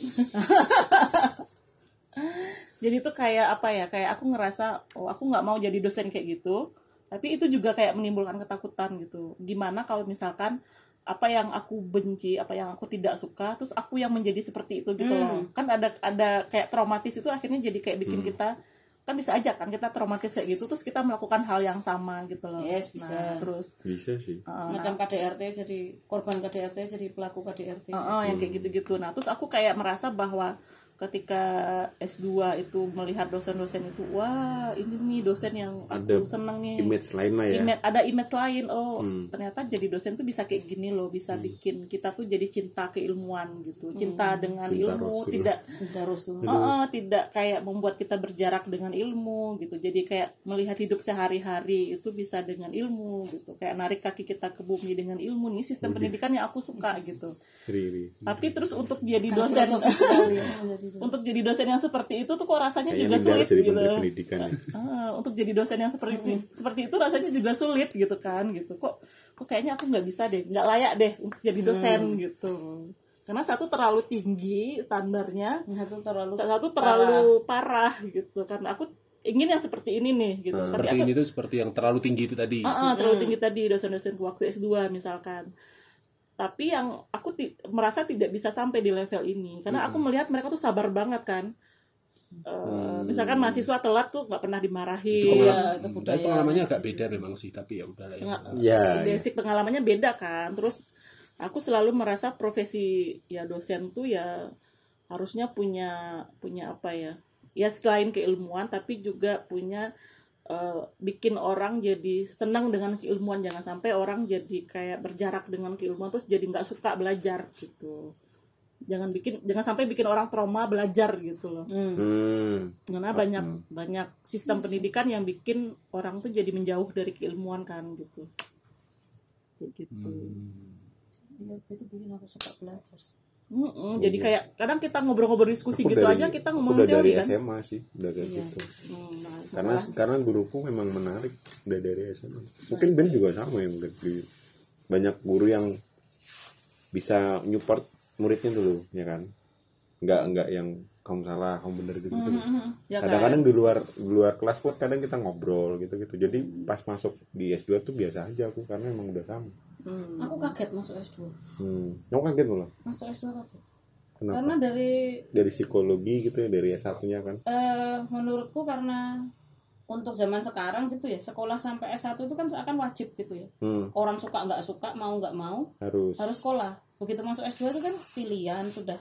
S3: Jadi itu kayak apa ya? Kayak aku ngerasa oh aku nggak mau jadi dosen kayak gitu. Tapi itu juga kayak menimbulkan ketakutan gitu. Gimana kalau misalkan apa yang aku benci, apa yang aku tidak suka, terus aku yang menjadi seperti itu gitu
S4: Hmm.
S3: loh. Kan ada ada kayak traumatis itu akhirnya jadi kayak bikin kita kan bisa aja kan kita traumatis kayak gitu terus kita melakukan hal yang sama gitu loh.
S4: Yes,
S3: Nah,
S4: bisa. Nah,
S3: terus eh,
S2: bisa sih
S3: Ah.
S4: Macam KDRT jadi korban KDRT jadi pelaku KDRT.
S3: Heeh,
S2: Gitu.
S3: yang kayak gitu-gitu. Nah, terus aku kayak merasa bahwa ketika S2 itu melihat dosen-dosen itu, wah, ini nih dosen yang
S2: ada
S3: aku seneng nih.
S2: image lain lah ya Hmm.
S3: Image- ada image lain. Oh, ternyata jadi dosen tuh bisa kayak gini loh, bisa bikin kita tuh jadi cinta keilmuan gitu. Cinta dengan
S2: Cinta
S3: ilmu,
S2: Rasul.
S3: tidak
S4: Harus tuh.
S3: Heeh, tidak kayak membuat kita berjarak dengan ilmu gitu. Jadi kayak melihat hidup sehari-hari itu bisa dengan ilmu gitu. Kayak narik kaki kita ke bumi dengan ilmu nih sistem pendidikan yang aku suka gitu
S2: Riri
S3: tapi terus untuk jadi dosen [laughs] untuk jadi dosen yang seperti itu tuh kok rasanya
S2: kayaknya
S3: juga
S2: Linda
S3: sulit
S2: harus jadi
S3: gitu
S2: menteri pendidikan ya
S3: Ah, untuk jadi dosen yang seperti itu, seperti itu rasanya juga sulit gitu kan gitu kok kok kayaknya aku nggak bisa deh nggak layak deh untuk jadi dosen gitu karena satu terlalu tinggi standarnya
S4: Satu terlalu
S3: satu terlalu parah, gitu karena aku ingin yang seperti ini nih gitu
S2: Ah.
S3: seperti
S1: seperti ini tuh seperti yang terlalu tinggi itu tadi
S3: Ah, ah, terlalu tinggi tadi dosen-dosen ke waktu S2 misalkan. Tapi yang aku ti- merasa tidak bisa sampai di level ini karena aku melihat mereka tuh sabar banget kan. Eh, misalkan mahasiswa telat tuh nggak pernah dimarahin.
S1: Hmm,
S4: ya itu
S1: tapi
S4: budaya.
S1: pengalamannya agak beda memang sih tapi ya udahlah ya
S2: ya ya.
S3: eh, Basic pengalamannya beda kan. Terus aku selalu merasa profesi ya dosen tuh ya harusnya punya punya apa ya? Ya selain keilmuan tapi juga punya eh, bikin orang jadi senang dengan keilmuan jangan sampai orang jadi kayak berjarak dengan keilmuan terus jadi nggak suka belajar gitu jangan bikin jangan sampai bikin orang trauma belajar gitu loh
S2: Hmm.
S3: karena banyak banyak sistem pendidikan yang bikin orang tuh jadi menjauh dari keilmuan kan gitu Kayak gitu
S2: Hmm.
S4: Iya, itu bikin aku suka belajar.
S3: Mm-mm, jadi kayak kadang kita ngobrol-ngobrol
S2: Oh,
S3: diskusi
S2: iya. Aku
S3: gitu
S2: dari-
S3: aja kita
S2: aku
S3: ngomongin
S2: udah dari
S3: teori kan
S2: SMA sih udah kayak gitu
S3: Hmm, nah,
S2: karena karena guruku memang menarik udah dari SMA mungkin Ben juga sama ya mungkin Di- banyak guru yang bisa nyupport muridnya dulu ya kan nggak nggak yang kamu salah kamu bener gitu gitu
S3: ya kan?
S2: kadang-kadang di luar di luar kelas pun kadang kita ngobrol gitu gitu jadi pas masuk di S2 tuh biasa aja aku karena emang udah sama
S4: Aku kaget masuk S2.
S2: hmm. kamu kaget malah
S4: Masuk S2 kaget.
S2: kenapa
S4: Karena dari
S2: dari psikologi gitu ya dari S1 nya kan
S4: eh menurutku karena untuk zaman sekarang gitu ya sekolah sampai S1 itu kan seakan wajib gitu ya
S2: hmm.
S4: orang suka nggak suka mau nggak mau
S2: harus
S4: harus sekolah begitu masuk S2 itu kan pilihan sudah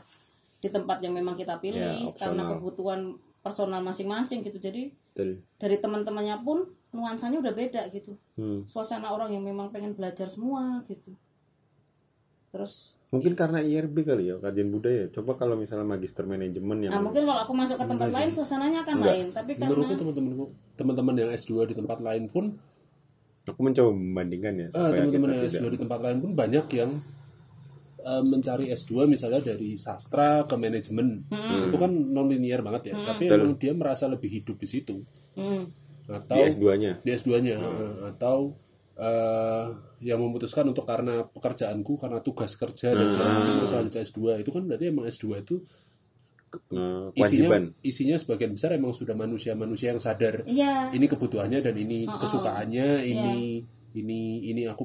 S4: di tempat yang memang kita
S2: Ya,
S4: pilih
S2: opsional.
S4: karena kebutuhan personal masing-masing gitu jadi
S2: Betul.
S4: dari teman-temannya pun nuansanya udah beda gitu
S2: Hmm.
S4: suasana orang yang memang pengen belajar semua gitu terus
S2: Mungkin karena IRB kali ya, kajian budaya. Coba kalau misalnya magister manajemen yang
S4: nah mungkin kalau aku masuk ke tempat lain suasananya akan lain tapi karena
S1: menurutku teman-temanku teman-teman yang S2 di tempat lain pun
S2: aku mencoba membandingkan ya
S1: Ah,
S2: supaya kita
S1: teman-teman yang
S2: tidak.
S1: S2 di tempat lain pun banyak yang eh, mencari S2 misalnya dari sastra ke manajemen
S4: Hmm.
S1: itu kan non linear banget ya tapi emang dia merasa lebih hidup di situ
S4: Hmm.
S1: atau
S2: Di S2-nya.
S1: di S2-nya atau eh, yang memutuskan untuk karena pekerjaanku karena tugas kerja dan segala
S2: Hmm.
S1: macam terus lanjut ke S2 itu kan berarti emang S2 itu
S2: Eh, kewajiban.
S1: isinya isinya sebagian besar emang sudah manusia-manusia yang sadar
S4: iya
S1: ini kebutuhannya dan ini kesukaannya ini ini ini aku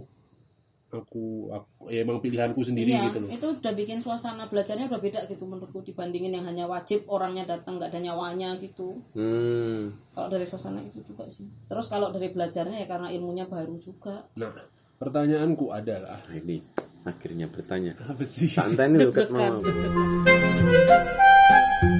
S1: aku, aku ya emang pilihanku sendiri
S4: Iya,
S1: gitu loh
S4: itu udah bikin suasana belajarnya udah beda gitu menurutku dibandingin yang hanya wajib orangnya datang nggak ada nyawanya gitu.
S2: Hmm.
S4: Kalau dari suasana itu juga sih. Terus kalau dari belajarnya ya karena ilmunya baru juga.
S1: nah pertanyaanku adalah [laughs]
S2: Nah, ini akhirnya bertanya.
S1: apa sih
S2: Santai nih loh, Kat, mau. apa?